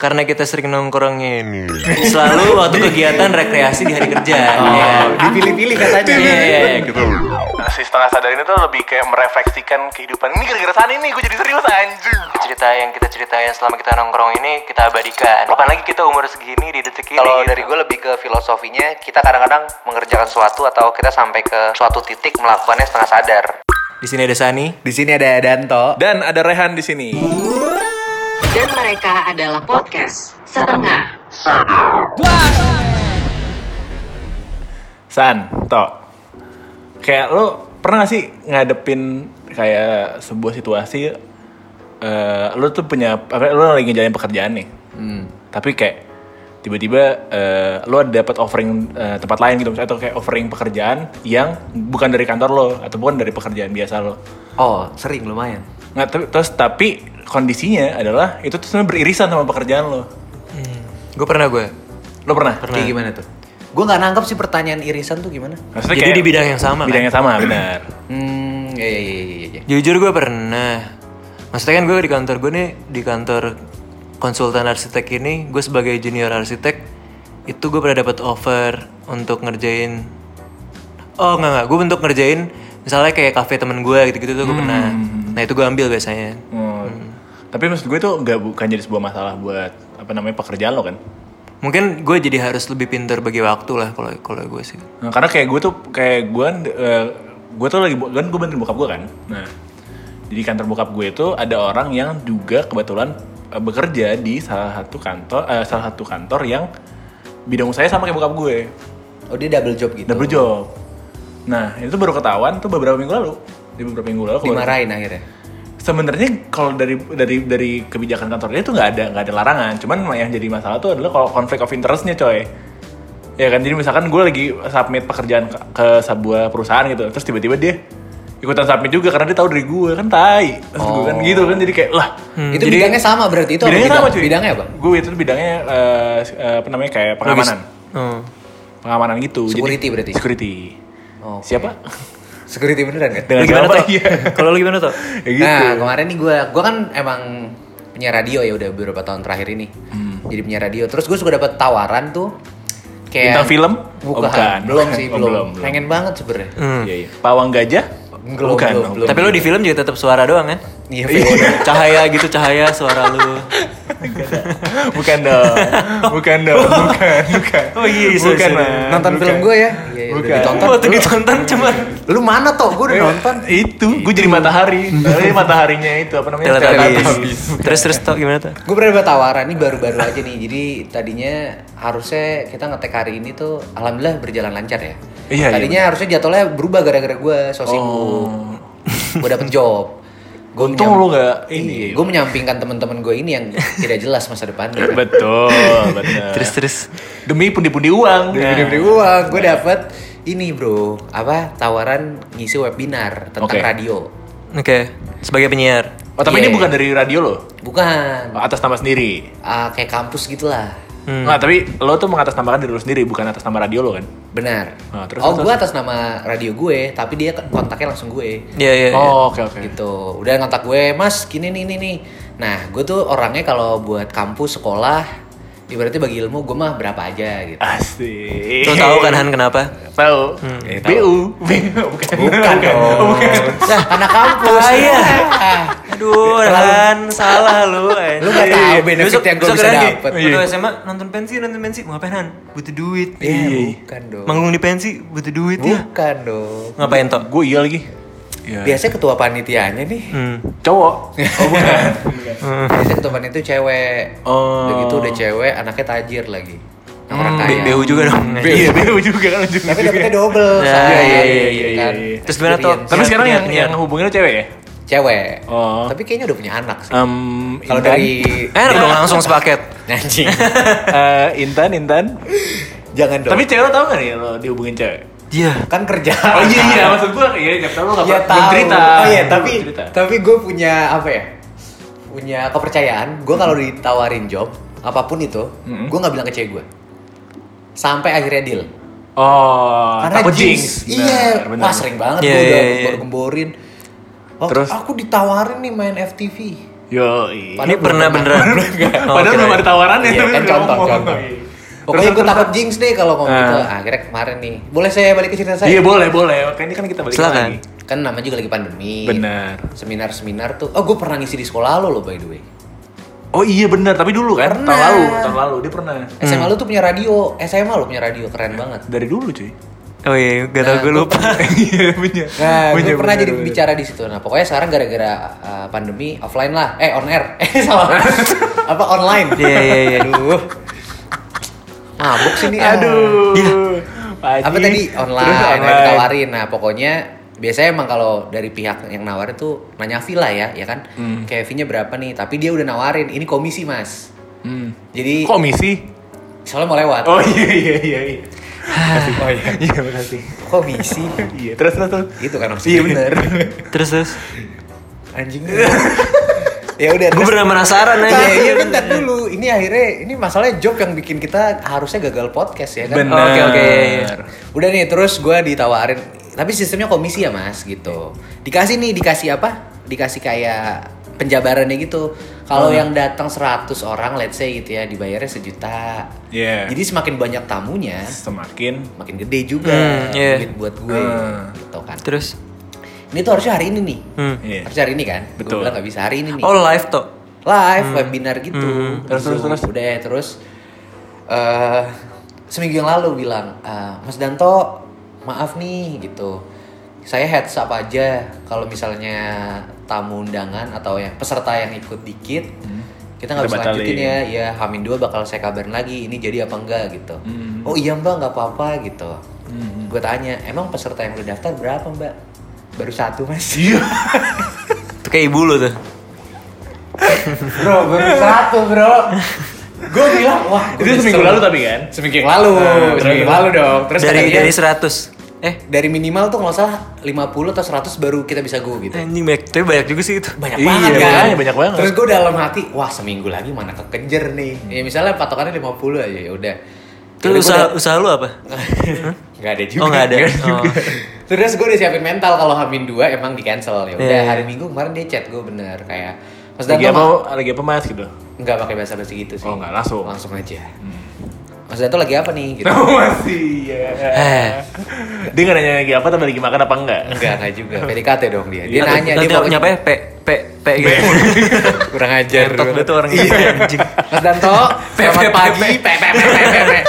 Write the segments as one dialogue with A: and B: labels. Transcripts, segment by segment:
A: karena kita sering nongkrongnya ini
B: Iya.
A: selalu waktu kegiatan rekreasi di hari kerja ya.
B: Oh, Dipilih-pilih katanya.
A: Iya, iya, iya, gitu.
C: si setengah sadar ini tuh lebih kayak merefleksikan kehidupan ini gara-gara sana ini gue jadi serius anjing
A: cerita yang kita ceritain selama kita nongkrong ini kita abadikan kapan lagi kita umur segini di detik ini
D: Kalau
A: gitu.
D: dari gue lebih ke filosofinya, kita kadang-kadang mengerjakan sesuatu atau kita sampai ke suatu titik melakukannya setengah sadar.
A: di sini ada Sani
B: Di sini ada Danto.
C: dan ada Rehan di sini
E: Dan mereka adalah podcast setengah
C: San to kayak lo pernah gak sih ngadepin kayak sebuah situasi eh lo tuh punya apa lo lagi ngejalanin pekerjaan nih tapi kayak tiba-tiba eh, lo ada dapat offering eh, tempat lain gitu misalnya, atau kayak offering pekerjaan yang bukan dari kantor lo atau bukan dari pekerjaan biasa lo
B: Oh, sering lumayan.
C: Nggak, tapi, terus tapi kondisinya adalah itu tuh sebenarnya beririsan sama pekerjaan lo.
A: gue pernah gue
C: Lo pernah?
B: Kayak
A: Nah.
B: gimana tuh? Gue nggak nangkep sih pertanyaan irisan tuh gimana?
C: Maksudnya
A: Jadi
C: kayak
A: di bidang yang sama, kan?
C: Bidang yang sama, benar.
B: Hmm, ya ya ya ya ya.
A: jujur gue pernah maksudnya kan gue di kantor gue nih di kantor konsultan arsitek ini gue sebagai junior arsitek itu gue pernah dapat offer untuk ngerjain oh enggak enggak gue untuk ngerjain misalnya kayak kafe temen gue gitu gitu tuh gue pernah
B: Hmm.
A: nah itu gue ambil biasanya
C: Hmm. Tapi maksud gue tuh nggak bukan jadi sebuah masalah buat apa namanya pekerjaan lo kan?
A: mungkin gue jadi harus lebih pintar bagi waktu lah kalau kalau gue sih
C: Nah, karena kayak gue tuh kayak gue eh, gue tuh lagi bu- kan gue bantuin bokap gue kan. Nah, jadi kantor bokap gue itu ada orang yang juga kebetulan eh, bekerja di salah satu kantor eh, salah satu kantor yang bidang usahanya sama kayak bokap gue.
B: Oh dia double job gitu.
C: double job. Nah, itu baru ketahuan tuh beberapa minggu lalu. Di beberapa minggu lalu keluar.
B: Dimarahin akhirnya.
C: Sebenarnya kalau dari dari dari kebijakan kantornya itu nggak ada nggak ada larangan. Cuman yang jadi masalah tuh adalah kalau konflik of interestnya coy. Ya kan, jadi misalkan gue lagi submit pekerjaan ke, ke sebuah perusahaan gitu, terus tiba-tiba dia ikutan submit juga karena dia tahu dari gue kan tai. Terus gue kan gitu kan jadi kayak lah.
A: Hmm.
B: itu bidangnya sama berarti itu apa
C: bidangnya
B: bidang-
C: sama cuy.
B: Bidangnya apa?
C: Gue itu bidangnya eh, eh, apa namanya kayak pengamanan.
A: oh.
C: Pengamanan gitu. Jadi-
B: Security berarti?
C: Security.
B: Oke.
C: Siapa?
B: Security beneran kan?
A: Lu gimana
C: siapa?
A: tuh
C: Iya.
A: kalau lu gimana tuh
C: Ya gitu.
B: Nah kemarin nih gue, gue kan emang punya radio ya udah beberapa tahun terakhir ini. Jadi punya radio. Terus gue suka dapat tawaran tuh
C: Bintang
B: kayak
C: film? Oh,
B: Bukan.
C: bukan.
B: Belum sih
C: Oh,
B: belum.
C: belum, belum.
B: Pengen banget sebenarnya.
C: Iya, iya. Pawang gajah?
B: Belum,
C: Bukan.
B: belum, belum.
A: tapi lu di film juga tetap suara doang kan
B: Iya. Vio.
A: cahaya gitu cahaya suara lu
C: bukan dong. Bukan dong. Bukan, bukan.
A: Oh, iya, iya, sorry,
C: bukan,
A: sorry.
C: Man.
B: Nonton
C: Bukan.
B: film gue ya? Iya, iya, udah
C: Bukan.
B: ditonton.
A: waktu ditonton cuman
B: Lu mana toh? Gue udah
C: Eh,
B: nonton.
C: Itu, gue jadi matahari. Jadi mataharinya itu apa namanya? Teletubbies.
A: Teletubbies. terus terus tuh gimana tuh
B: Gue pernah dapat tawaran nih baru-baru aja nih. Jadi tadinya harusnya kita ngetek hari ini tuh alhamdulillah berjalan lancar ya.
C: Iya, iya,
B: tadinya harusnya jadwalnya berubah gara-gara gue so sibuk. Gue dapet job. Gue
C: Untung lu nggak
B: Iya.
C: ini.
B: Gue menyampingkan teman-teman gue ini yang tidak jelas masa depannya.
C: Betul, benar.
A: terus terus
C: Demi pundi-pundi uang. Nah.
B: Diberi uang, gue dapet ini bro, apa tawaran ngisi webinar tentang
C: Oke.
B: radio.
A: oke sebagai penyiar
C: Oh, tapi
B: Iya.
C: ini bukan dari radio lo.
B: Bukan,
C: Atas nama sendiri.
B: ah, kayak kampus gitulah.
C: Nah, tapi lo tuh mengatasnamakan diri lo sendiri, bukan atas nama radio lo kan?
B: Benar.
C: Ah, terus,
B: oh,
C: terus,
B: gue atas nama radio gue, tapi dia kontaknya langsung gue.
A: Iya iya. iya.
C: Oh, oke, oke.
B: Gitu. Udah kontak gue, Mas, gini nih nih nih. Nah, gue tuh orangnya kalau buat kampus, sekolah, ibaratnya bagi ilmu gue mah berapa aja gitu.
C: Asik.
A: Lo tahu kan Han kenapa?
C: Tahu. BU. BU Eh, bukan.
B: Hmm. Bukan dong. Nah, anak kampus.
A: Ah, iya.
B: Ah.
A: Aduh, Han salah lu. anjing.
B: Lu nggak tahu
A: Iya.
B: benefit
A: Besok-
B: yang gua
A: besok
B: bisa
A: lagi,
B: dapet.
A: Waktu SMA nonton pensi, nonton pensi, mau ngapain Han? Butuh duit.
B: Ya,
C: Iya.
B: bukan dong.
A: Manggung di pensi, butuh duit ya.
B: Bukan dong.
A: Ngapain toh?
C: Gue iya lagi. Iya.
B: Biasanya ketua panitianya nih.
A: Hmm.
C: Cowok. Oh bukan.
B: Biasanya ketua panitia itu cewek.
C: Oh. Hmm,
B: Udah gitu udah cewek, anaknya tajir lagi. Yang orang
A: B-
B: kaya.
A: BU juga dong.
C: Iya, BU juga kan ujung
B: Tapi dapetnya double.
A: Iya,
B: Shay,
A: iya,
C: iya,
B: gitu
C: iya,
B: kan.
C: iya.
A: Terus gimana, Tok?
B: Experience.
C: Tapi sekarang yang
A: Penyiar,
C: yang hubungin lo cewek ya?
B: Cewek.
C: Oh.
B: Tapi kayaknya udah punya anak sih.
C: Um,
B: Kalau dari
A: Enak
B: Iya.
A: dong langsung sepaket.
B: anjing.
C: Eh, Intan, Intan.
B: Jangan dong.
C: Tapi cewek lo tau gak nih lo dihubungin cewek?
A: Iya.
B: kan kerja.
C: Oh iya iya maksud gue iya siapa tau lo gak
B: Ya
C: pernah
B: tahu.
C: belum cerita.
B: Oh iya,
C: Belum
B: tapi
C: cerita.
B: tapi gue punya apa ya? Punya kepercayaan. Gue kalau ditawarin job apapun itu,
C: Mm-mm.
B: gue nggak bilang ke cewek gue. Sampai akhirnya deal.
C: Oh,
B: Karena
C: takut jinx.
B: jinx. Iya,
C: Benar,
B: wah
C: benar.
B: sering banget
A: Iya,
B: gue
A: iya,
B: udah
A: iya.
B: gembor-gemborin. Waktu
C: Terus?
B: aku ditawarin nih main FTV.
C: Yo,
A: Ini pernah beneran. Oh,
C: Padahal belum
A: kirain.
C: ada tawarannya.
B: Iya,
C: tapi
B: kan
C: udah
B: contoh,
C: ngomong.
B: contoh.
C: Iya.
B: Pokoknya
C: Terus,
B: gue
C: terus,
B: takut jinx nih kalau ngomong gitu. Akhirnya kemarin nih. Boleh saya balik ke cerita saya?
C: Iya boleh, boleh. Makanya ini kan kita balik
A: Silakan.
C: lagi.
B: Kan namanya juga lagi pandemi.
C: Benar.
B: Seminar-seminar tuh. Oh, gue pernah ngisi di sekolah lo loh by the way.
C: Oh iya benar, tapi dulu kan
B: Pernah.
C: tahun lalu, tahun lalu dia pernah.
B: SMA lu tuh punya radio, SMA lu punya radio, keren banget.
C: Dari dulu cuy.
A: Oh iya, gak tau gue lupa.
C: Iya punya.
B: Nah,
C: Punya,
B: gue pernah
C: punya,
B: jadi
C: punya.
B: bicara di situ. Nah, pokoknya sekarang gara-gara uh, pandemi offline lah, eh on air, eh salah, apa online?
A: Iya, iya, iya.
B: Aduh, mabuk sini.
C: Aduh. Pagi,
B: Iya. Ah. Apa tadi online?
C: Ah, iya. Terus
B: Nah,
C: online.
B: ditawarin. Nah, pokoknya biasanya emang kalau dari pihak yang nawarin tuh nanya fee lah ya, ya kan? Kayak fee-nya berapa nih? Tapi dia udah nawarin, ini komisi mas.
C: Hmm.
B: Jadi
C: Komisi.
B: soalnya mau lewat.
C: Oh iya iya iya. iya. Makasih. Oh iya. Iya makasih.
B: Komisi,
C: Iya terus terus terus.
B: gitu kan maksudnya.
C: Iya benar.
A: terus terus.
B: Anjing. ya udah.
A: Gue
B: terus-
A: pernah penasaran aja.
B: Iya, iya bentar dulu. Ini akhirnya ini masalahnya job yang bikin kita harusnya gagal podcast ya kan.
C: Benar.
A: Oke, oke, iya, iya.
B: Udah nih terus gue ditawarin tapi sistemnya komisi ya mas gitu. Dikasih nih dikasih apa? Dikasih kayak penjabarannya gitu.
A: Ah.
B: Kalau yang datang 100 orang let's say gitu ya dibayarnya sejuta.
C: Iya.
B: Jadi semakin banyak tamunya
C: Semakin.
B: makin gede juga
A: Hmm, iya.
B: duit buat gue
C: Hmm.
B: gitu kan.
A: Terus.
B: Ini tuh harusnya hari ini nih.
A: Hmm.
C: Iya.
B: Harusnya hari ini kan. Gue
C: Betul.
B: bilang nggak bisa hari ini nih
A: Oh live toh.
B: live webinar gitu
C: Terus, Hmm. terus, terus.
B: udah terus eh seminggu yang lalu bilang "Ah, Mas Danto maaf nih gitu saya heads up aja kalau misalnya tamu undangan atau yang peserta yang ikut dikit kita nggak
C: Hmm. Kita
B: bisa lanjutin
C: batalin.
B: ya ya Hamin dua bakal saya kabarin lagi ini jadi apa enggak gitu
C: Hmm.
B: oh iya mbak nggak apa-apa gitu gue tanya emang peserta yang udah daftar berapa mbak baru satu mas
C: Iya.
A: Itu kayak ibu lo tuh.
B: bro baru satu bro gue bilang wah gua
C: Itu
B: nyesel.
C: seminggu lalu tapi kan.
B: seminggu yang lalu seminggu yang lalu dong terus
A: dari
B: kata dia,
A: dari 100. Eh,
B: dari minimal tuh nggak salah 50 atau 100 baru kita bisa go gitu
A: anjing banyak, tapi banyak juga sih itu.
B: banyak
C: Iya,
B: banget kan
C: makanya banyak banget.
B: terus gue dalam hati wah seminggu lagi mana kekejar nih ya misalnya patokannya 50 aja ya udah
A: Terus usaha, usaha lu apa?
B: Gak ada juga.
A: Oh, nggak ada. Oh.
B: Terus gue udah siapin mental kalau Hamin 2 emang di cancel ya. Udah
A: Iya, iya.
B: hari Minggu kemarin dia chat gue bener kayak Mas
C: Lagi
B: Danto
C: apa?
B: ma-
C: Lagi apa mas gitu?
B: nggak pakai bahasa basi gitu sih.
C: Oh nggak langsung.
B: langsung aja.
A: Hmm.
B: Mas Danto lagi apa nih? Gitu.
C: masih ya.
A: Eh.
C: Dia nggak nanya lagi apa tapi lagi makan apa enggak?
B: Enggak, enggak juga. PDKT dong dia. Dia
A: Nanti-
B: nanya,
A: Iya, nanti
B: dia pokoknya
A: nyapa ya P P P gitu.
B: kurang ajar. Iya.
A: Gentot lu tuh orang gitu anjing.
B: Mas Danto, selamat pagi. Pe, pe, pe, pe, pe, pe.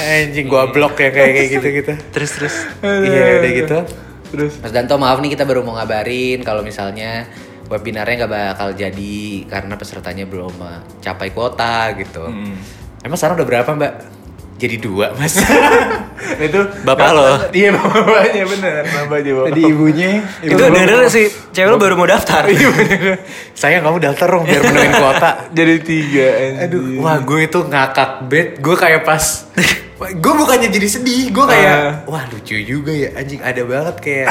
B: Anjing gua blok ya kayak kayak gitu-gitu.
A: Terus terus.
B: Iya, udah gitu.
C: Terus.
B: Mas Danto, maaf nih kita baru mau ngabarin kalau misalnya webinarnya nggak bakal jadi karena pesertanya belum mencapai kuota gitu.
A: Hmm.
C: Hmm.
B: Emang sekarang udah berapa, Mbak? Jadi dua, Mas.
C: Nah, itu
A: Bapak lo.
C: Iya bapaknya bener. Bapaknya bapak.
B: Tadi ibunya,
A: Itu bener sih, cewek lu baru mau daftar.
C: Iya,
B: Sayang kamu daftar dong biar menuin kuota.
C: Jadi tiga. anjing.
B: Aduh, wah gue itu ngakak bet, gue kayak pas, Ah. gue bukannya jadi sedih, gue kayak, wah lucu juga ya anjing, ada banget kayak.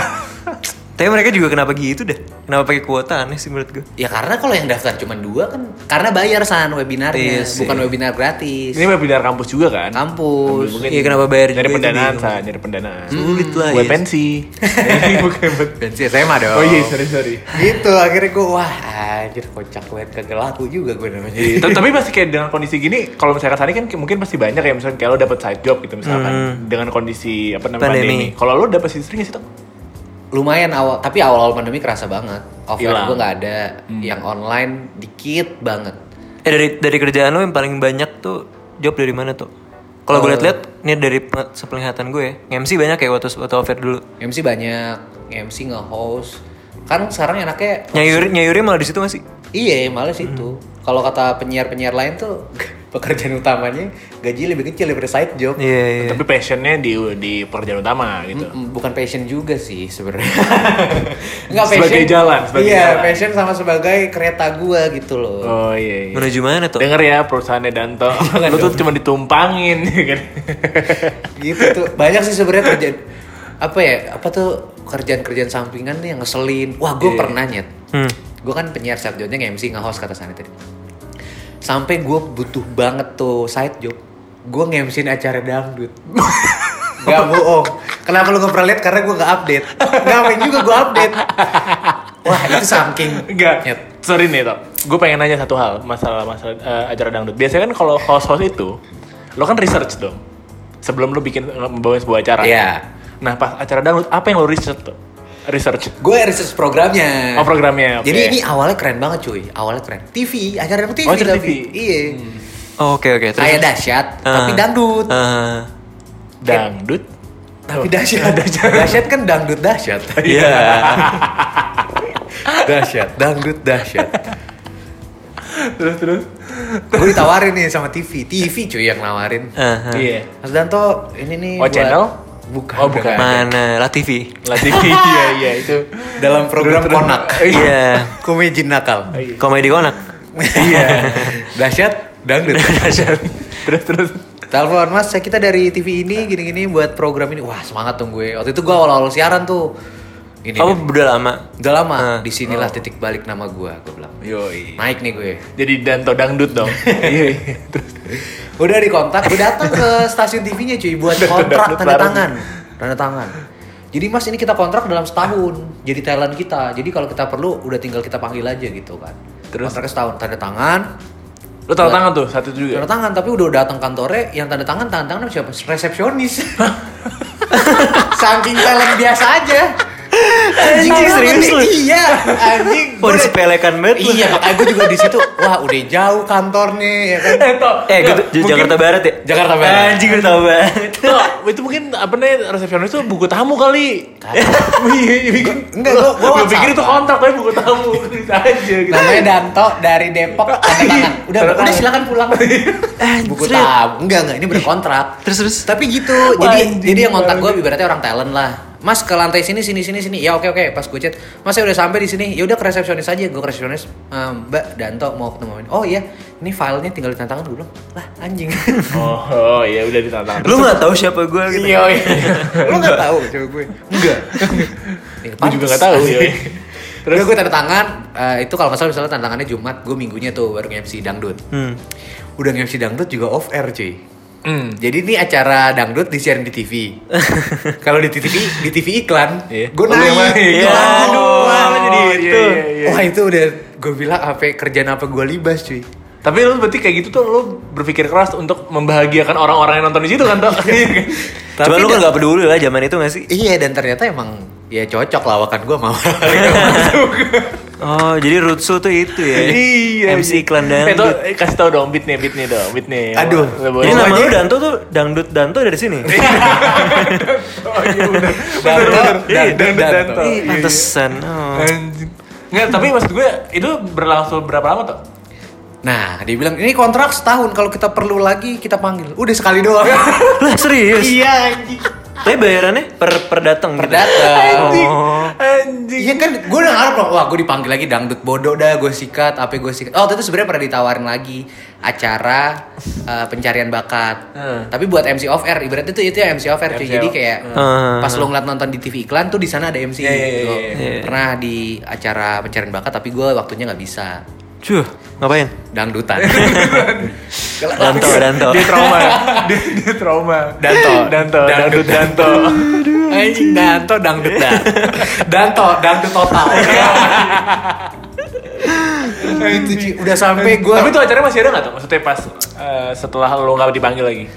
A: Tapi mereka juga kenapa gitu deh? Kenapa pakai kuota aneh sih menurut gue.
B: ya karena kalau yang daftar cuma dua kan, karena bayar san
A: Iya
B: webinarnya,
A: sih.
B: bukan webinar gratis.
C: Ini webinar kampus juga kan?
B: kampus.
C: Mungkin
A: Iya, kenapa bayar
C: Nyari
A: juga itu
C: pendanaan,
A: bingung.
C: Sa. Nyari pendanaan.
A: Sulit lah.
C: Buat
A: ya.
C: pensi. Bukan buat.
B: Bensin SMA dong.
C: Oh iya, sorry sorry.
B: Gitu akhirnya gue wah anjir kocak banget kagak laku juga gue namanya.
A: Iya.
C: Tapi- tapi pasti kayak dengan kondisi gini kalau misalnya kasari kan mungkin pasti banyak ya misalnya kayak lo dapet side job gitu misalkan dengan kondisi apa
A: Hmm.
C: namanya
A: Pandemi.
C: pandemi, kalau lo dapet sih sering sih tuh
B: Lumayan awal, tapi awal-awal pandemi kerasa banget. Offline
C: Hilang.
B: gue nggak ada, yang online dikit banget.
A: Eh dari dari kerjaan lu yang paling banyak tuh job dari mana tuh? Kalau
B: Eh.
A: gue liat-liat, ini dari pe- sepenglihatan gue ya. MC banyak ya waktu waktu offer dulu.
B: MC banyak, MC nge-host. Kan sekarang enaknya
A: Nyayuri nyayuri malah di situ masih.
B: iya males
C: Hmm.
B: itu. Kalau kata penyiar-penyiar lain tuh pekerjaan utamanya gaji lebih kecil daripada side job.
A: Iya iya.
C: tapi passionnya di di pekerjaan utama gitu
B: Mm, Bukan passion juga sih sebenarnya. Enggak passion.
C: Sebagai jalan, sebagai
B: iya,
C: jalan.
B: passion sama sebagai kereta gua gitu loh.
C: oh iya, iya.
A: Hmm. Menuju Iya, mana tuh?
C: Dengar ya perusahaannya Danto. Lu tuh cuma ditumpangin ya kan.
B: Gitu tuh. Banyak sih sebenarnya kerjaan apa ya? Apa tuh kerjaan-kerjaan sampingan nih yang ngeselin. Wah, gua
C: Iya.
B: pernah nyet.
A: Hmm.
B: gue kan penyiar side jobnya nge-MC nge-host kata Sani tadi sampai gue butuh banget tuh side job gue nge-MC -in acara dangdut gak bohong kenapa lu gak pernah lihat karena gue gak update ngapain juga gue update wah itu saking
C: Enggak.
B: Nyet.
C: Sorry nih, Tok. gue pengen nanya satu hal masalah masalah eh, acara dangdut. Biasanya kan kalau host-host itu, lo kan research dong sebelum lo bikin membawa sebuah acara.
B: Iya.
C: Nah pas acara dangdut apa yang lo research tuh? Research.
B: Gue research programnya.
C: Oh, programnya, oke.
B: Nah, Jadi ini awalnya keren banget cuy. Awalnya keren. TV, acara dangdut TV.
C: Oh, acara Hmm.
B: tapi.
C: TV.
B: Iya.
A: Oh, Oke oke terus.
B: Kayak dahsyat, tapi
A: Ah.
B: dangdut.
A: Ah.
C: Dangdut.
B: Tapi dahsyat. dahsyat. kan dangdut dahsyat.
A: Iya.
B: dahsyat, dangdut dahsyat.
C: terus terus.
B: gue ditawarin nih sama TV. TV cuy yang nawarin.
A: Aha.
C: Iya.
B: Mas Danto, ini nih
C: Oh,
B: buat-
C: channel?
B: Bukan.
C: Oh, bukan.
A: Mana? Lah TV.
C: Latih. Iya iya itu.
B: Dalam program Konak.
A: Iya.
B: Komedi nakal.
A: Komedi konak.
B: Iya. Dahsyat, dangdut.
C: terus terus.
B: Telepon mas, saya kita dari TV ini gini-gini buat program ini. Wah semangat dong gue. Waktu itu gue awal-awal siaran tuh. Ini
A: Kamu udah lama.
B: udah lama.
A: Ah.
B: Disinilah titik balik nama gue. Gue bilang.
C: Yoi.
B: Naik nih gue.
C: Jadi danto dangdut dong. Iya. iya. Terus.
B: Udah di kontak, gue datang ke stasiun TV-nya cuy buat kontrak tanda
C: parah
B: tangan. Tanda tangan. Jadi mas ini kita kontrak dalam setahun. Jadi talent kita. Jadi kalau kita perlu udah tinggal kita panggil aja gitu kan.
C: Terus?
B: kontraknya setahun tanda tangan.
C: Lo tanda tangan tuh satu itu juga.
B: Tanda tangan tapi udah datang kantornya yang tanda tangan tanda tangan siapa? Resepsionis. Saking talent biasa aja. Anjing
A: Anjing,
B: serius
A: serius lu?
B: Iya, anjing.
A: Oh
B: Gua-
A: disepelekan banget lu.
B: Iya, makanya gue juga di situ. Wah, udah jauh kantornya ya kan.
C: Eh, toh,
A: Eh, gue
C: nggak,
A: di
C: mungkin-
A: Jakarta Barat ya?
B: Jakarta Barat.
A: Anjing gue tau banget.
C: Toh, itu mungkin apa nih resepsionis itu buku tamu kali. Iya, iya, bikin.
B: Enggak, gua- gua
C: Gua pikir
B: WhatsApp.
C: itu kontrak tapi buku tamu Gitu aja gitu.
B: Namanya Danto dari Depok
C: Iya.
B: tanda tangan. Udah,
C: Tanda
B: udah
C: tangan.
B: silakan pulang.
C: Iya.
B: Buku
A: Anjir.
B: tab. Enggak, enggak, ini berkontrak.
A: Terus terus.
B: Tapi gitu, jadi
C: Anjing,
B: jadi yang kontak gue ibaratnya orang talent lah. Mas ke lantai sini sini sini sini. Ya oke oke, pas gue chat, Mas saya udah sampai di sini. Ya udah ke resepsionis aja, gue ke resepsionis. "Eh, Mbak Danto mau ketemu ini. Oh iya, ini filenya tinggal ditantangan dulu. Lah anjing.
C: Oh, oh iya udah ditantang.
A: Lu gak tahu siapa gue gitu.
B: Lu nggak tahu coba gue. Iya, Enggak.
C: Gue juga nggak tahu. ya. iya, Yoi.
B: Terus gue tanda tangan, eh, itu kalau nggak salah misalnya tanda tangannya Jumat, gue minggunya tuh baru nge-MC dangdut.
A: Hmm.
B: Udah nge-MC dangdut juga off air cuy.
C: Hmm.
B: Jadi ini acara dangdut disiarin di TV. Kalau di TV di TV iklan,
C: Iya.
B: gue
C: Lu yang
B: naik.
C: mana?
B: Gua
A: Iya.
B: naik.
A: Oh,
C: jadi
A: iya,
C: itu.
A: iya,
B: Wah itu udah gue bilang apa kerjaan apa gue libas cuy.
C: Tapi lu berarti kayak gitu tuh lu berpikir keras untuk membahagiakan orang-orang yang nonton di situ kan, Tok? Iya kan?
A: Coba lu kan gak peduli lah zaman itu gak sih?
B: Iya dan ternyata emang ya cocok lawakan gue mau.
A: Oh, jadi Rutsu tuh itu ya. MC iklan
C: Eh, Tok,
A: dangdut.
C: eh, kasih tau dong beatnya, beatnya dong, beatnya.
B: Aduh.
C: Nggak boleh.
A: Jadi nama
B: Pokoknya-
A: lu Danto tuh dangdut Danto dari sini.
C: Oh, iya, bener.
B: Danto,
C: Bener, bener.
B: Danto,
C: Iya,
B: Danto.
C: Danto.
A: Ih, pantesan. Oh.
C: Anjing. Nggak, tapi maksud gue itu berlangsung berapa lama tuh?
B: Nah dia bilang ini kontrak setahun kalau kita perlu lagi kita panggil. Udah sekali doang.
A: Lah serius?
B: iya anjing.
A: Tapi bayarannya per per datang gitu.
B: Perdata.
A: Oh.
C: Anjing.
B: Iya kan, gue udah ngarep loh, wah gue dipanggil lagi dangdut bodoh dah, gue sikat, apa gue sikat. Oh, waktu itu sebenarnya pernah ditawarin lagi acara eh, pencarian bakat. Tapi buat MC off air, ibaratnya tuh itu ya MC Hmm. off air
C: MC
B: cuy. Jadi
C: off.
B: kayak
A: Hmm.
B: pas lo ngeliat nonton di TV iklan tuh di sana ada MC.
C: Iya, iya, iya,
B: gitu.
C: iya.
A: Iya.
B: Pernah di acara pencarian bakat, tapi gue waktunya nggak bisa.
A: Cuh, ngapain?
B: Dangdutan.
A: Danto, Danto.
C: Dia trauma.
A: ya?
C: dia, dia trauma.
B: Danto.
C: Danto,
B: Dangdut,
C: dangdut Danto.
B: Anjing Danto dangdut dah. Danto dangdut total. Itu, Ci. udah sampai gue
C: Tapi tuh acaranya masih ada nggak tuh? Maksudnya pas eh, setelah lo nggak dipanggil lagi?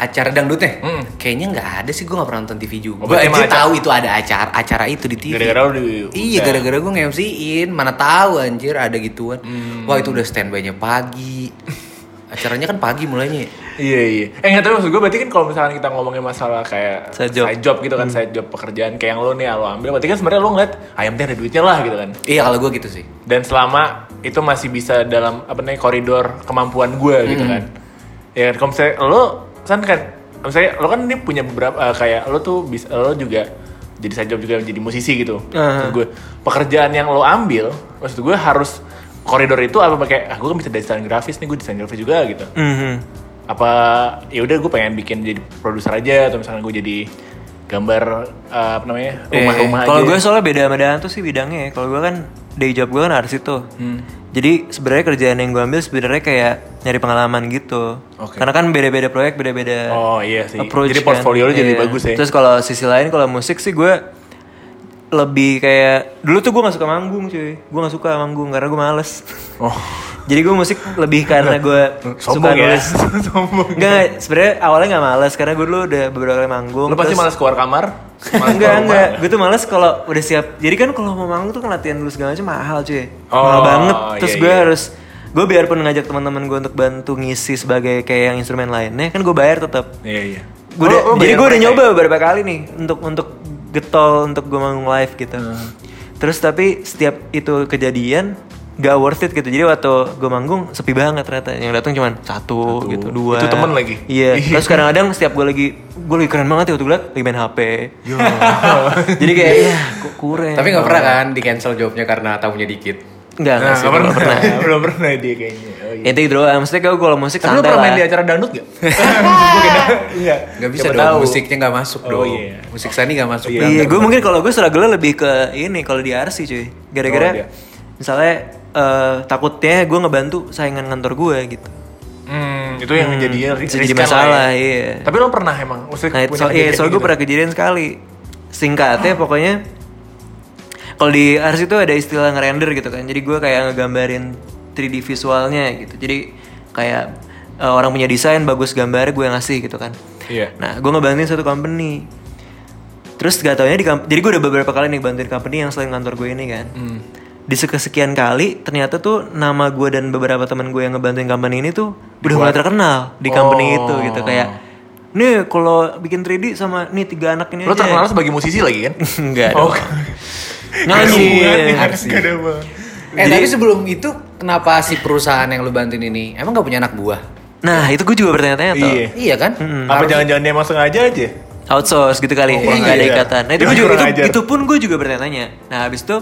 B: acara dangdutnya
C: Mm.
B: kayaknya nggak ada sih gue nggak pernah nonton TV
C: Oh,
B: juga gue
C: berarti emang
B: aja
C: acara-
B: tahu itu ada acara acara itu di TV
C: Gara-gara lo di...
B: iya
C: udah.
B: gara-gara gue nge-MC-in mana tahu anjir ada gituan
C: Hmm.
B: wah itu udah standby-nya pagi acaranya kan pagi mulainya ya.
C: Iya iya. Eh nggak tahu maksud gue berarti kan kalau misalkan kita ngomongin masalah kayak
A: Side job.
C: gitu kan,
B: Hmm.
C: side job pekerjaan kayak yang lo nih lo ambil, berarti kan sebenarnya lo ngeliat ayam teh ada duitnya lah gitu kan.
B: iya kalau gue gitu sih
C: Dan selama itu masih bisa dalam apa namanya koridor kemampuan gue gitu kan. Ya kan kalau misalnya lo kan kan misalnya lo kan ini punya beberapa eh, kayak lo tuh bisa lo juga jadi side job juga jadi musisi gitu. Maksud Gue pekerjaan yang lo ambil maksud gue harus koridor itu apa pakai ah gue kan bisa desain grafis nih gue desain grafis juga gitu
A: Mhm.
C: apa ya udah gue pengen bikin jadi produser aja atau misalnya gue jadi gambar eh, apa namanya rumah-rumah
A: Eh, Kalau
C: aja. ya.
A: gue soalnya beda sama Danto sih bidangnya. ya. Kalau gue kan day job gue kan arsito.
C: Hmm.
A: Jadi sebenarnya kerjaan yang gue ambil sebenarnya kayak nyari pengalaman gitu.
C: Oke.
A: Karena kan beda-beda proyek, beda-beda
C: oh iya sih
A: approach
C: jadi portfolio
A: kan.
C: lu jadi
A: Iya.
C: bagus ya
A: Terus kalau sisi lain kalau musik sih gue lebih kayak dulu tuh gue gak suka manggung cuy gue gak suka manggung karena gue males
C: Oh.
A: jadi gue musik lebih karena gue suka
C: Sombong ya.
A: nulis
C: Sombong.
A: Enggak, enggak. sebenarnya awalnya nggak malas karena gue dulu udah beberapa kali manggung.
C: Lu pasti
A: terus-
C: malas keluar kamar? Malas
A: enggak,
C: keluar
A: enggak.
C: rumah?
A: Gue tuh malas kalau udah siap. Jadi kan kalau mau manggung tuh kan latihan dulu segala macam mahal cuy.
C: Oh,
A: mahal banget. Terus
C: iya,
A: gue
C: iya.
A: harus gue biarpun ngajak teman-teman gue untuk bantu ngisi sebagai kayak yang instrumen lainnya kan gue bayar tetap.
C: Iya, iya.
A: Gue
C: Lu-
A: udah,
C: lu
A: jadi
C: bayar
A: gue udah
C: mereka
A: nyoba beberapa kali nih untuk untuk getol untuk gue manggung live gitu.
C: Hmm.
A: Terus tapi setiap itu kejadian gak worth it gitu. Jadi waktu gue manggung sepi banget ternyata. Yang datang cuman satu, gitu, dua.
C: Itu temen lagi?
A: Iya. Terus kadang-kadang setiap gue lagi gue lagi keren banget ya waktu gue liat, lagi main HP. jadi kayak ya kok kurang.
B: Tapi nggak pernah kan di cancel jawabnya karena tamunya dikit.
A: Enggak,
C: Nah,
A: sih,
C: nggak
A: belum
C: pernah.
A: pernah.
C: Belum pernah dia kayaknya. Oh, iya.
A: Itu gitu doang. Maksudnya kalau kalau musik
C: Tapi lu
A: santai
C: pernah main
A: lah.
C: di acara dangdut gak? Iya.
B: Gak bisa
C: Siapa
B: dong,
C: tahu.
B: musiknya gak masuk
C: Oh,
B: dong.
C: iya.
B: Musik Sani gak masuk.
C: Iya.
A: Iya, gue mungkin kalau gue struggle lebih ke ini kalau di RC cuy.
C: Oh,
A: Gara-gara
C: dia.
A: misalnya eh, takutnya gue ngebantu saingan kantor gue gitu.
C: Hmm, itu yang jadi
A: Bisa jadi masalah, iya.
C: ya. Tapi lo pernah emang? Maksudnya
A: Nah, itu so, iya, soalnya
C: gitu?
A: gue pernah kejadian sekali. Singkatnya
C: Ah.
A: pokoknya kalau di RC itu ada istilah ngerender gitu kan. Jadi gue kayak ngegambarin 3D visualnya gitu. Jadi kayak eh, orang punya desain bagus gambarnya gue yang ngasih gitu kan.
C: Iya.
A: Nah, gue ngebantuin satu company. Terus gak taunya di kamp- jadi gue udah beberapa kali nih bantuin company yang selain kantor gue ini kan.
C: Hmm.
A: Di sekesekian kali ternyata tuh nama gue dan beberapa teman gue yang ngebantuin company ini tuh udah mulai terkenal di company itu
C: Oh.
A: gitu kayak nih kalau bikin 3D sama nih tiga anak ini
C: Lo
A: aja." Iya.
C: terkenal sebagai musisi lagi kan?
A: enggak dong.
C: Oh.
A: Nyanyi.
C: Gak ada banget.
B: Eh tapi sebelum itu kenapa si perusahaan yang lu bantuin ini emang gak punya anak buah?
A: Nah, itu gue juga bertanya-tanya tuh.
C: Iya.
B: Iya kan?
C: Apa jangan-jangan dia emang sengaja aja?
A: outsource gitu kali
C: Oh, kurang
A: nggak ada
C: ajar.
A: ikatan nah itu
C: Dia
A: gue juga
C: kurang
A: itu,
C: ajar.
A: itu pun gue juga bertanya nah habis itu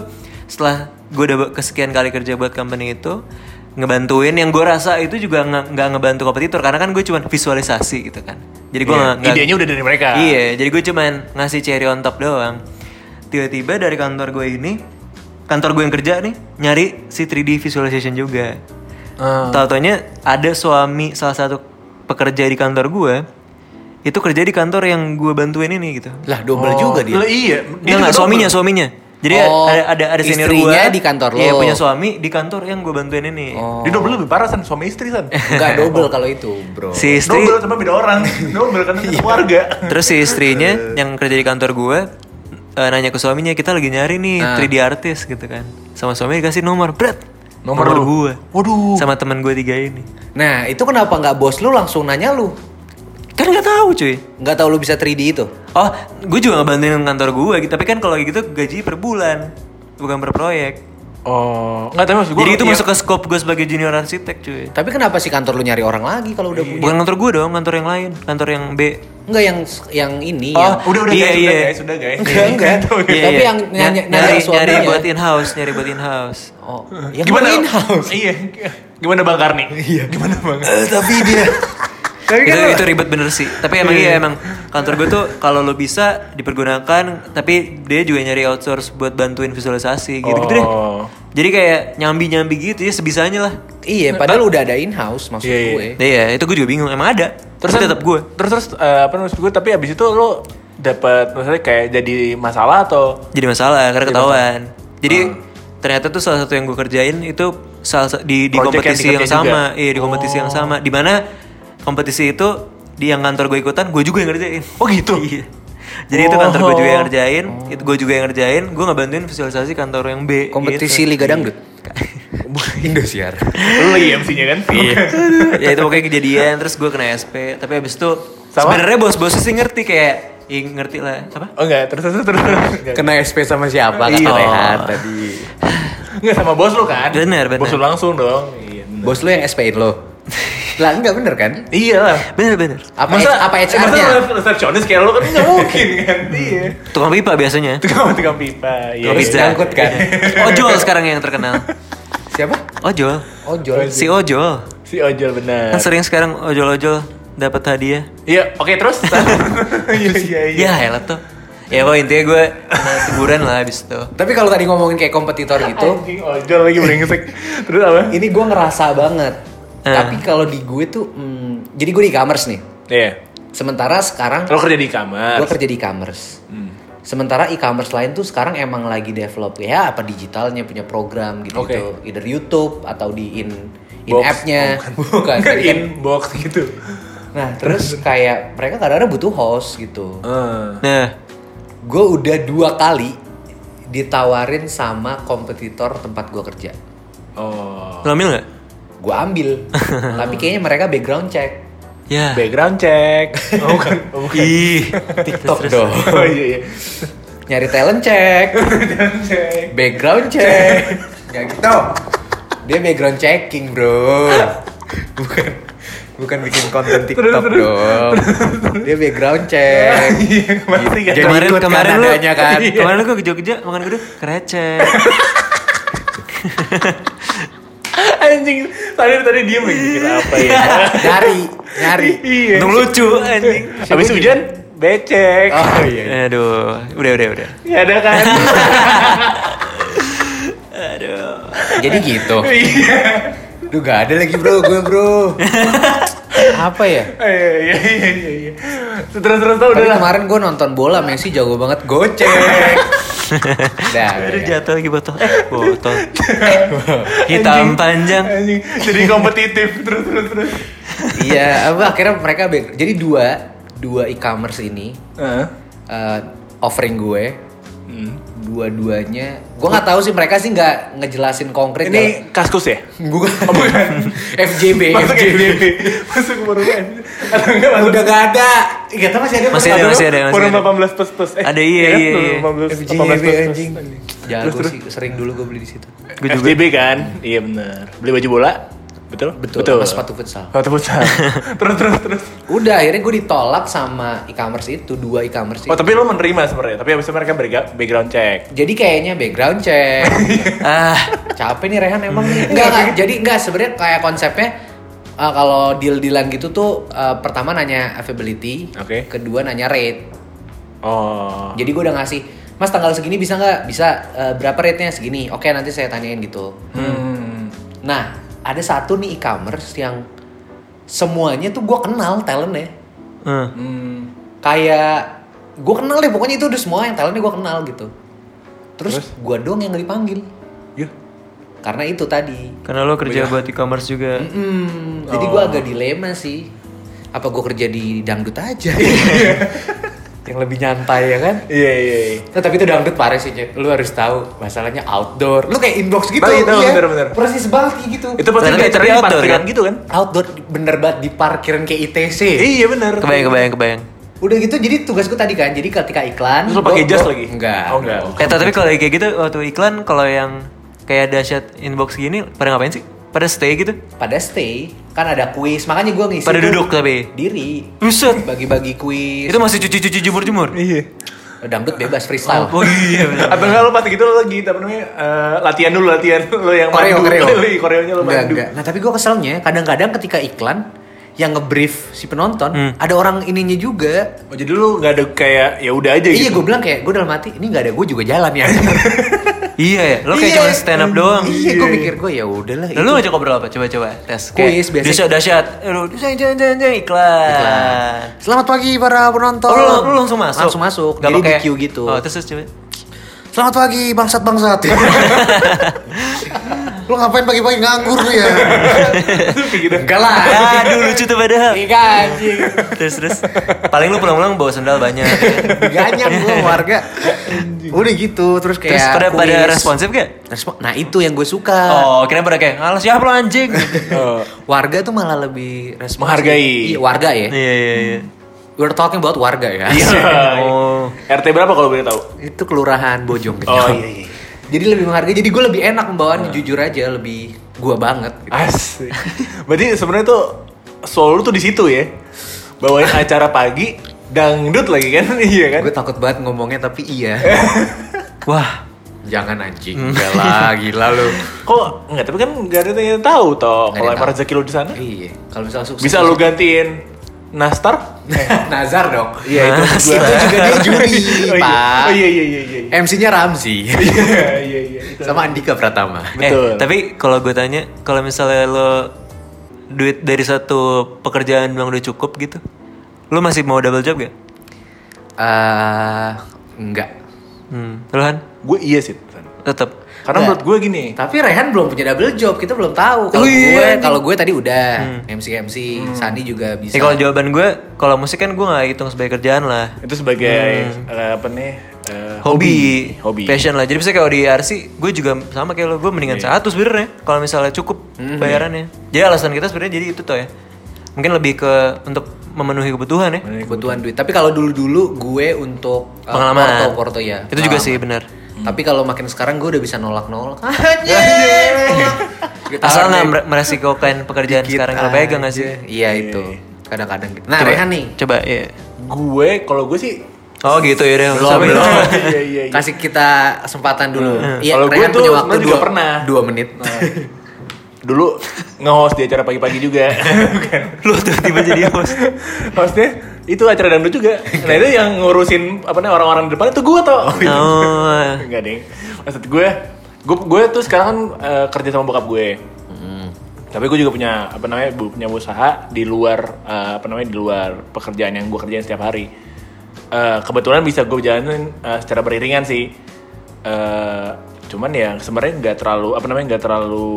A: setelah gue udah kesekian kali kerja buat company itu ngebantuin yang gue rasa itu juga nge- nggak ngebantu kompetitor karena kan gue cuman visualisasi gitu kan jadi gue nggak nggak-
C: Iya. Idenya udah dari mereka.
A: iya jadi gue cuman ngasih cherry on top doang tiba-tiba dari kantor gue ini kantor gue yang kerja nih nyari si 3D visualization juga
B: Ah.
A: Tau-taunya ada suami salah satu pekerja di kantor gue itu kerja di kantor yang gue bantuin ini gitu.
B: Lah double juga dia.
C: Lah, iya.
A: Dia nggak suaminya suaminya. Jadi
B: Oh,
A: ada ada ada senior gue.
B: istrinya di kantor Oh,
A: Iya
B: lo.
A: punya suami di kantor yang gue bantuin ini.
C: Dia double lebih parah san suami istri san.
B: Enggak double kalau itu, Bro.
A: Si istri Iya.
C: Double cuma beda orang. Double karena satu keluarga.
A: terus si istrinya yang kerja di kantor gue eh, nanya ke suaminya kita lagi nyari nih
C: Ah.
A: 3D artis gitu kan. Sama suami dikasih nomor berat.
C: Nomor lu.
A: gue.
C: Waduh.
A: Sama teman gue tiga ini.
B: Nah, itu kenapa nggak bos lu langsung nanya lu?
A: Kan nggak tahu cuy.
B: Nggak tahu lu bisa 3D itu.
A: Oh, gue juga ngebantuin kantor gue, gitu. tapi kan kalau gitu gaji per bulan, bukan per proyek.
C: Oh, enggak tapi maksud gue.
A: Jadi itu masuk ke scope gue sebagai junior arsitek, cuy.
B: Tapi kenapa sih kantor lu nyari orang lagi kalau udah punya?
A: Bukan kantor gue dong, kantor yang lain, kantor yang B.
B: Enggak yang yang ini yang
A: Oh,
C: Udah udah
A: Iya,
C: guys,
A: iya.
C: udah guys, udah guys. gitu.
B: Enggak, enggak.
A: Iya,
B: Tapi
A: iya.
B: yang
A: Ny-
B: nanya-
A: nyari
B: nanya
A: nyari
C: ya.
B: suaminya.
A: buat in house, nyari buat in house.
B: Oh, yang
C: Gimana?
B: in house.
C: Iya. Gimana Bang Karni? Iya. Gimana Bang?
B: Tapi dia
A: itu, itu ribet bener sih. Tapi emang kan iya emang kantor gue tuh kalau lo bisa dipergunakan, tapi dia juga nyari outsource buat bantuin visualisasi gitu-gitu deh.
C: Oh.
A: Jadi kayak nyambi-nyambi gitu ya sebisanya lah.
B: Iya, padahal udah ada in house maksud
C: Iya, iya.
B: gue.
A: Iya, itu gue juga bingung. Emang ada? Terus kan-
C: San,
A: tetap gue.
C: Terus terus eh, apa maksud gue? Tapi abis itu lo dapat maksudnya kayak jadi masalah atau
A: jadi masalah karena ketahuan. Jadi ternyata tuh salah satu yang gue kerjain itu salah sa- di di
C: Project yang
A: kompetisi yang,
C: dikerjain
A: sama, iya di kompetisi yang sama. Di mana kompetisi itu di yang kantor gue ikutan, gue juga yang ngerjain. Oh gitu. Iya. Jadi itu kantor gue juga yang ngerjain, itu gue juga yang ngerjain, gue ngebantuin visualisasi kantor yang B.
B: Kompetisi
A: gitu.
B: Liga Dangdut. Indosiar.
C: lo lagi MC-nya kan? Iya.
A: ya itu pokoknya kejadian, terus gue kena SP, tapi abis itu
C: Sama?
A: sebenarnya bos-bosnya sih ngerti kayak, "Ih, ngerti lah apa?
C: Oh enggak, terus terus terus. terus.
B: Kena SP sama siapa kata
A: Iya.
B: Rehan tadi?
C: Enggak sama bos lo kan?
A: Bener, bener.
C: Bos lo langsung dong. Iya.
B: Bos lu yang SP-in lo. Lah enggak bener kan?
C: Iya lah.
A: Bener-bener.
B: Apa apa HR-nya?
C: Masa lo resepsionis kayak lo kan nggak mungkin kan? Iya.
A: Tukang pipa biasanya.
C: Tukang tukang pipa. Iya.
B: Terus
A: Bisa.
B: diangkut kan?
A: Ojol sekarang yang terkenal.
B: Siapa?
A: Ojol.
B: Ojol.
A: Si Ojol.
C: Si ojol bener.
A: Kan sering sekarang ojol-ojol dapat hadiah.
C: Iya, oke terus. Iya iya iya.
A: Ya elah tuh. Ya pokoknya intinya gue kena teguran lah abis itu.
B: Tapi kalau tadi ngomongin kayak kompetitor gitu,
C: Anjing ojol lagi brengsek. Terus apa?
B: ini gue ngerasa banget.
A: Eh.
B: Tapi kalau di gue tuh, hmm, jadi gue di e-commerce nih.
C: Iya.
B: Sementara sekarang
C: Lo kerja di
B: gue
C: kamar. Hmm.
B: kerja di e-commerce. Sementara e-commerce lain tuh sekarang emang lagi develop ya apa digitalnya punya program gitu gitu. Either YouTube atau di in in
C: Box.
B: app-nya. Oh, Bukan.
C: Ke inbox gitu.
B: Nah, terus kayak mereka kadang-kadang butuh host gitu.
C: Eh,
A: Nah,
B: Gue udah dua kali ditawarin sama kompetitor tempat gue kerja.
C: oh.
A: lo ambil nggak?
B: Gue ambil, tapi kayaknya mereka background check.
A: Ya.
C: Background check. Oh, bukan. Oh, bukan.
A: Ih,
B: TikTok dong.
C: Oh iya iya.
B: Nyari talent check, background check. ya gitu. Dia background checking, Bro. Bukan bukan bikin konten TikTok dong. Dia background check.
C: Iya,
B: Gitu.
C: pasti kan.
B: Jadi
A: kemarin
B: ikut
A: kemarin
B: kan
A: lu Iya.
B: adanya kan.
A: kemarin lu ke Jogja makan gudeg krecek.
C: Anjing, tadi tadi diem lagi kira apa ya?
B: Nyari, nyari.
C: Iya.
A: Untung lucu anjing.
C: Habis hujan becek.
B: Oh iya.
A: Aduh, udah udah udah.
C: Ya ada kan.
B: Jadi gitu. Duh gak ada lagi bro, gue bro. Apa ya?
C: Iya iya iya iya, iya. Terus terus tau
B: Tapi
C: udah lah.
B: kemarin gue nonton bola, Messi jago banget gocek. Dah,
A: Aduh
B: udah.
A: jatuh lagi botol. Eh, botol. Hitam panjang.
C: Anjing, jadi kompetitif terus terus terus.
B: Iya, apa akhirnya mereka back- jadi dua dua e-commerce ini
C: Heeh.
B: eh, offering gue
C: Hmm.
B: dua-duanya gue nggak tahu sih mereka sih nggak ngejelasin konkret dalam-
C: Ini kaskus ya?
B: bukan FJB
C: Masuk
B: FJB.
C: FJB. Masuk baru-baru Atau enggak masuk
B: udah gak ada Gak tau masih ada
A: Masih ada,
C: Atau
A: masih ada,
C: enggak
A: masih
C: forum
A: ada.
C: 18 plus plus. Eh,
A: Ada, iya,
C: ya kan?
A: iya, iya.
C: Forum 18 18
B: FJB,
C: plus plus.
B: anjing.
C: Terus,
B: Jago
C: terus.
B: Ya, sih, sering dulu gue beli di situ.
A: Gua juga.
C: FJB kan? Iya bener. Beli baju bola? Betul?
B: Betul, sama sepatu futsal.
C: Sepatu futsal. terus terus terus.
B: Udah, akhirnya gue ditolak sama e-commerce itu, dua e-commerce itu.
C: Oh tapi lo menerima sebenarnya. Tapi abis itu mereka berga- background check.
B: Jadi kayaknya background check.
A: Ah,
B: Capek nih Rehan emang nih. Enggak, enggak. Jadi enggak sebenarnya kayak konsepnya uh, kalau deal-dealan gitu tuh uh, pertama nanya availability,
C: Oke.
B: kedua nanya rate.
C: Oh.
B: Jadi gue udah ngasih, Mas tanggal segini bisa nggak? Bisa uh, berapa rate-nya segini? Oke, nanti saya tanyain gitu.
C: Hmm.
B: Nah, ada satu nih e-commerce yang semuanya tuh gue kenal talentnya.
A: eh,
C: Hmm.
B: Kayak gue kenal deh pokoknya itu udah semua yang talentnya gue kenal gitu. Terus, gua gue doang yang nggak dipanggil
C: Yuk.
B: karena itu tadi.
A: karena lo kerja
B: Oh, iya.
A: buat e-commerce juga.
B: Mm-mm, Jadi gue agak dilema sih. Apa gue kerja di dangdut aja? yang lebih nyantai ya kan?
C: Iya iya. iya.
B: Nah, tapi itu dangdut parah sih, Cep. Lu harus tahu masalahnya outdoor. Lu kayak inbox gitu.
C: Tahu, tahu, bener, bener.
B: Persis banget kayak gitu.
C: Itu pasti
A: Ternyata
C: diajarin
A: outdoor,
C: di parkiran
A: kan?
C: gitu kan?
B: outdoor bener banget di parkiran kayak ITC.
C: Iya bener.
B: Hmm.
A: Kebayang kebayang kebayang.
B: Udah gitu jadi tugas gue tadi kan. Jadi ketika iklan
C: Terus lo
B: gua-
C: pakai jas
B: gua-
C: lagi?
B: Enggak.
C: Oh enggak.
A: Eh tapi kalau kayak gitu waktu iklan kalau yang kayak dahsyat inbox gini pada ngapain sih? Pada stay gitu?
B: Pada stay kan ada kuis, makanya gue ngisi.
A: Pada
B: tuh
A: duduk tapi.
B: diri
A: Buset.
B: bagi-bagi kuis.
A: Itu masih cuci-cuci jemur-jemur.
C: Iya.
B: Dangdut bebas freestyle.
A: Oh iya. bener.
C: Atau enggak lo pasti gitu lo lagi apa namanya eh, latihan dulu latihan lo yang
B: koreo
C: mandu.
B: koreo
C: Lo- koreonya lo
B: Enggak,
C: mandu.
B: enggak. nah tapi gue keselnya kadang-kadang ketika iklan yang ngebrief si penonton
A: Hmm.
B: ada orang ininya juga
C: Oh jadi lo nggak ada kayak ya udah aja
B: iya
C: gitu.
B: gue bilang kayak gue dalam hati ini nggak ada gue juga jalan ya
A: Iya ya, lo kayak
B: Iya.
A: cuma stand up doang.
B: iya gue pikir gue ya udahlah
A: Lalu ngajak ngobrol apa? Coba-coba tes.
B: Kuis, biasa.
A: Dahsyat, dahsyat. Eh, Lu jeng jeng jeng jeng iklan.
B: Iklan. selamat pagi para penonton
A: Oh, lu, lu langsung masuk.
B: langsung masuk
A: Nggak
B: jadi di
A: pakai-
B: queue gitu
A: Oh, terus terus coba.
B: selamat pagi bangsat bangsat lu ngapain pagi-pagi nganggur lu ya
C: Kayak gitu. Iya kan,
B: enggak lah
A: Aduh lucu tuh padahal.
B: Enggak anjing
A: Terus terus. Paling lu pulang-pulang bawa sendal banyak. ya.
B: Diganyang gue warga Udah gitu Terus kayak
A: Terus pada pada
B: kuis.
A: responsif gak?
B: Respon- Nah itu yang gue suka
A: Oh, kira pada kayak alas siapa lo anjing.
C: Oh.
B: Warga tuh malah lebih responsif
C: Menghargai.
B: Iya warga ya
A: Iya iya iya.
B: We're talking about warga ya
C: iya.
A: Oh.
C: RT berapa kalau boleh tahu?
B: Itu kelurahan Bojong
C: Oh iya iya.
B: Jadi lebih menghargai Jadi gue lebih enak pembawaannya Jujur aja lebih gue banget gitu.
C: Ah, Asik. Berarti sebenarnya tuh soul lu tuh di situ ya. Bawain acara pagi dangdut lagi kan? Iya Eh. kan?
B: Gue takut banget ngomongnya tapi iya
A: Wah.
B: Jangan anjing
C: Hmm.
B: Enggak lah gila lu
C: Kok enggak tapi kan enggak ada yang tahu toh kalau
B: Nggak ada yang
C: emang
B: tahu.
C: rezeki lu di sana.
B: Iya Kalau misalnya sukses
C: Bisa lu gantiin Nastar?
B: Nazar dong
C: Iya itu
B: Itu juga dia juri
C: Oh iya.
B: Pak
C: Oh iya iya iya iya.
B: MC-nya Ramzi
C: Iya iya iya. itu.
B: sama Andika Pratama.
A: Eh,
C: Betul.
A: tapi kalau gue tanya, kalau misalnya lo duit dari satu pekerjaan bang udah cukup gitu, lo masih mau double job gak?
B: Eh, enggak.
A: Hmm. Lu, Han?
C: Gue iya sih. San.
A: Tetep.
B: Nah.
C: Karena menurut gue gini,
B: Tapi Rehan belum punya double job, kita belum tahu. Kalau
C: Oh, iya, Hmm.
B: gue, kalau gue tadi udah MC MC, Sandi juga bisa.
A: Ya,
C: Eh,
A: kalau jawaban gue, kalau musik kan gue nggak hitung sebagai kerjaan lah.
C: itu sebagai
B: Hmm.
C: eh, apa nih? eh,
A: Hobi,
C: hobi.
A: passion lah. Jadi misalnya kayak di RC, gue juga sama kayak lo, gue mendingan satu sebenarnya. Kalau misalnya cukup bayarannya. Jadi alasan kita sebenarnya jadi itu toh ya. Mungkin lebih ke untuk memenuhi kebutuhan ya.
B: kebutuhan duit. Tapi kalau dulu-dulu gue untuk uh,
A: Pengalaman.
B: porto porto ya.
A: Itu juga sih benar.
B: Tapi kalau makin sekarang gue udah bisa nolak-nolak. Anjir. Kita
A: Asal
B: harus-
A: nggak mer- meresikokan pekerjaan sekarang lo pegang nggak sih?
B: Iya itu. Kadang-kadang gitu. Nah, Rehan nih.
A: Coba ya.
C: Gue kalau gue sih
A: Oh gitu ya deh.
B: Belum, belum.
C: Iya, iya, iya.
B: Kasih kita kesempatan dulu. Iya,
C: Kalau gue
B: Rehan
C: tuh
B: punya waktu
C: sebenarnya juga
B: dua,
C: pernah. Nah.
B: dua menit.
C: eh, dulu nge-host di acara pagi-pagi juga. Bukan.
A: Lu tiba-tiba jadi host.
C: Hostnya itu acara dangdut juga. Nah itu yang ngurusin apa namanya orang-orang di depan itu gue tau.
A: Oh.
C: Enggak ding. Maksud gue, gue gue tuh sekarang kan eh, kerja sama bokap gue. Tapi gue juga punya apa namanya bu- punya usaha di luar eh, apa namanya di luar pekerjaan yang gue kerjain setiap hari. Eh, kebetulan bisa gue jalanin eh, secara beriringan sih. Eh, cuman ya sebenarnya nggak terlalu apa namanya nggak terlalu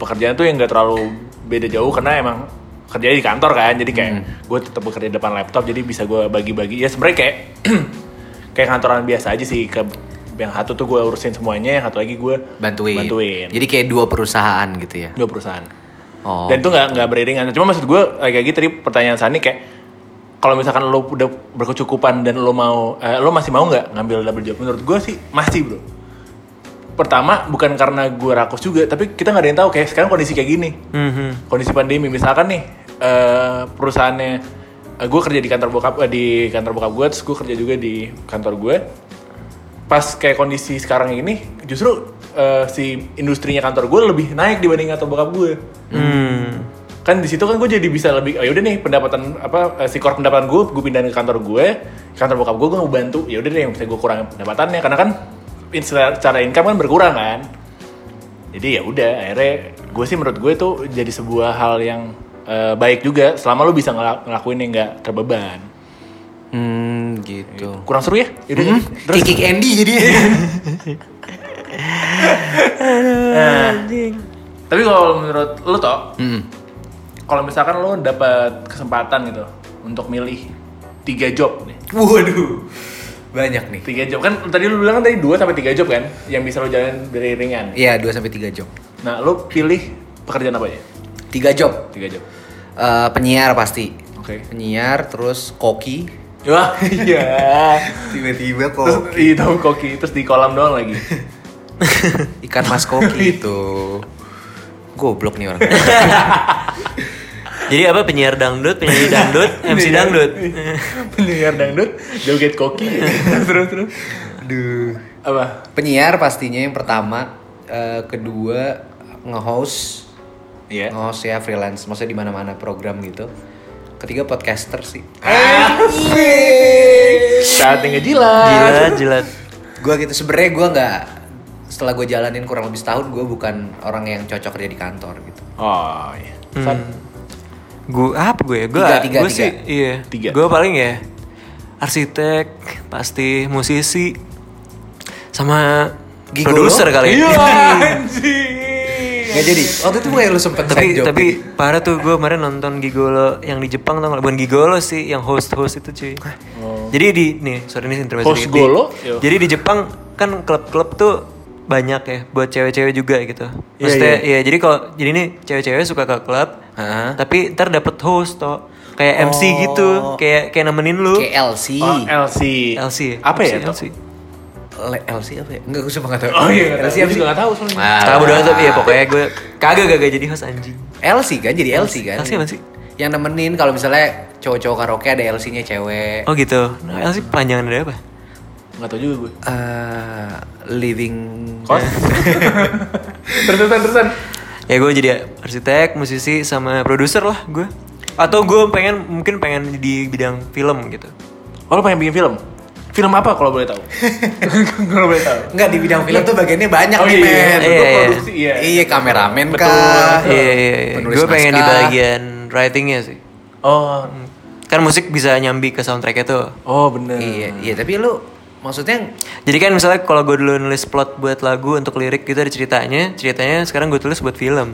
C: pekerjaan tuh yang nggak terlalu beda jauh karena emang kerjanya di kantor kan jadi kayak gue tetap bekerja di depan laptop jadi bisa gue bagi-bagi ya sebenarnya kayak kayak kantoran biasa aja sih ke yang satu tuh gue urusin semuanya yang satu lagi gue
B: Bantuin.
C: bantuin
B: Jadi kayak dua perusahaan gitu ya.
C: dua perusahaan
B: Oh.
C: dan itu nggak nggak beriringan cuma maksud gue kayak gitu tadi pertanyaan Sani kayak kalau misalkan lo udah berkecukupan dan lo mau eh, lo masih mau nggak ngambil double job menurut gue sih masih bro pertama bukan karena gue rakus juga tapi kita nggak ada yang tahu kayak sekarang kondisi kayak gini
A: Mhm.
C: kondisi pandemi misalkan nih eh, perusahaannya gue kerja di kantor bokap eh, di kantor bokap gue terus gue kerja juga di kantor gue pas kayak kondisi sekarang ini justru eh, si industrinya kantor gue lebih naik dibanding kantor bokap gue
A: Hmm.
C: kan di situ kan gue jadi bisa lebih oh yaudah nih pendapatan apa eh, si core pendapatan gue gue pindahin ke kantor gue kantor bokap gue gue mau bantu ya udah deh yang bisa gue kurangin pendapatannya karena kan in- secara secara income kan berkurang kan jadi ya udah akhirnya gue sih menurut gue itu jadi sebuah hal yang eh, baik juga selama lu bisa ngela- ngelakuin yang nggak terbeban
B: Hmm, gitu. Iya.
C: kurang seru ya Yaudah, terus
B: Kikik Andy jadi.
C: tapi kalau menurut lu toh
B: Hmm.
C: kalau misalkan lu dapat kesempatan gitu untuk milih tiga job nih
B: Waduh. Banyak nih.
C: tiga job kan tadi lu bilang kan tadi dua sampai tiga job kan yang bisa lu jalan beriringan
B: Iya, 2 sampai 3 job.
C: nah lu pilih pekerjaan apa aja
B: 3 job.
C: tiga job
B: Eh, penyiar pasti.
C: oke
B: Penyiar terus koki.
C: wah iya
B: Tiba-tiba
C: terus itu koki terus di kolam doang lagi
B: ikan mas koki itu. Goblok nih orang.
A: Jadi apa penyiar dangdut, penyanyi dangdut, MC dangdut.
C: penyiar dangdut joget koki terus terus
B: Aduh.
C: apa
B: Penyiar pastinya yang pertama, Eh, kedua nge-host.
C: Iya.
B: Nge-host ya freelance, maksudnya di mana-mana program gitu. Ketiga podcaster sih.
C: saat ngejilat
A: Gila, jilat.
B: gue gitu sebenarnya gue nggak setelah gue jalanin kurang lebih setahun gue bukan orang yang cocok kerja di kantor gitu
C: oh iya San,
A: Gue apa gue ya? Gue
B: Tiga, tiga,
A: gue
B: tiga.
A: sih iya.
C: Tiga.
A: Gue paling ya arsitek, pasti musisi sama
B: Gigolo?
A: produser kali.
C: iya
A: ya.
C: anjing
B: nggak jadi waktu itu kayak lu sempet
A: tapi
B: side job
A: tapi
B: gitu.
A: parah tuh gue kemarin nonton Gigolo yang di Jepang tau nggak? bukan Gigolo sih yang host host itu cuy jadi di nih sorry ini intermezzo
C: Oh. Host
A: dikit.
C: golo? Iya.
A: Di-
C: Yo.
A: jadi di Jepang kan klub-klub tuh banyak ya buat cewek-cewek juga gitu
C: Iya,
A: maksudnya ya jadi kalau jadi nih cewek-cewek suka ke klub
B: Hah?
A: tapi ntar dapet host toh kayak MC gitu kayak kayak nemenin lu
B: kayak LC
C: oh, LC
A: LC
C: apa ya
A: LC,
C: Tok?
A: LC.
B: Le- LC apa ya nggak gue cuma nggak tahu
C: oh iya nggak tahu.
B: LC
C: Gua
B: apa sih
C: juga nggak tahu soalnya
B: Ah.
A: Tahu doang tapi ya pokoknya gue kagak kagak jadi host anjing
B: LC kan jadi LC kan
A: LC apa sih?
B: yang nemenin kalau misalnya cowok-cowok karaoke ada LC-nya cewek
A: oh gitu nah, LC panjangan dari apa
C: nggak tahu juga gue
B: Eh, living
C: kos terus terusan terusan
A: ya gue jadi arsitek musisi sama produser lah gue atau gue pengen mungkin pengen di bidang film gitu
C: Oh, lo pengen bikin film? Film apa kalau boleh tahu? kalau boleh tahu.
B: nggak di bidang film tuh bagiannya banyak
C: Oh,
B: nih
C: iya,
B: men
A: iya, iya.
C: produksi, iya.
B: iya kameramen
C: Betul.
B: kah
A: iya iya iya
B: penulis
A: gue pengen di
B: naskah.
A: bagian writingnya sih
C: Oh,
A: kan musik bisa nyambi ke soundtracknya tuh
C: oh bener.
B: Iya, iya tapi lu maksudnya
A: Jadi kan misalnya kalau gue dulu nulis plot buat lagu untuk lirik gitu ada ceritanya, ceritanya sekarang gue tulis buat film.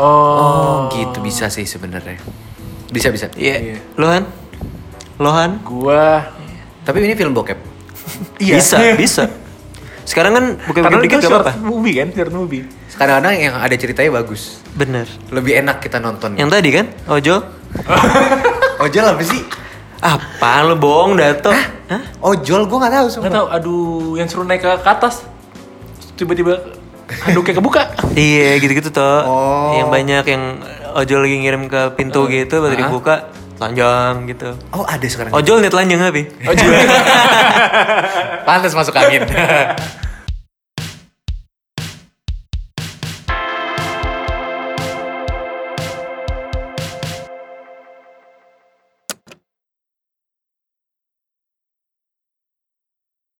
B: oh, gitu bisa sih sebenarnya bisa bisa
A: Iya. Lohan? Lohan?
C: Gua
B: tapi ini film bokep
A: Bisa, bisa. Sekarang kan
C: karena
A: bukan
C: itu
A: dikit gak
C: short
A: apa-apa.
C: movie kan, short movie.
B: kadang-kadang yang ada ceritanya bagus
A: Bener.
B: lebih enak kita nonton
A: Yang tadi kan? Ojo?
B: ojol apa sih
A: Apaan lu bohong Dato? Hah?
B: ojol gue nggak tahu
C: Nggak
B: sumpah
C: tahu, aduh, yang suruh naik ke, ke atas tiba-tiba handuknya kebuka.
A: Iya gitu-gitu toh.
B: Oh.
A: Yang banyak yang ojol lagi ngirim ke pintu gitu baru dibuka telanjang gitu.
B: oh ada sekarang
A: Ojol nih telanjang tapi.
C: Oh, jiwa.
B: pantas masuk angin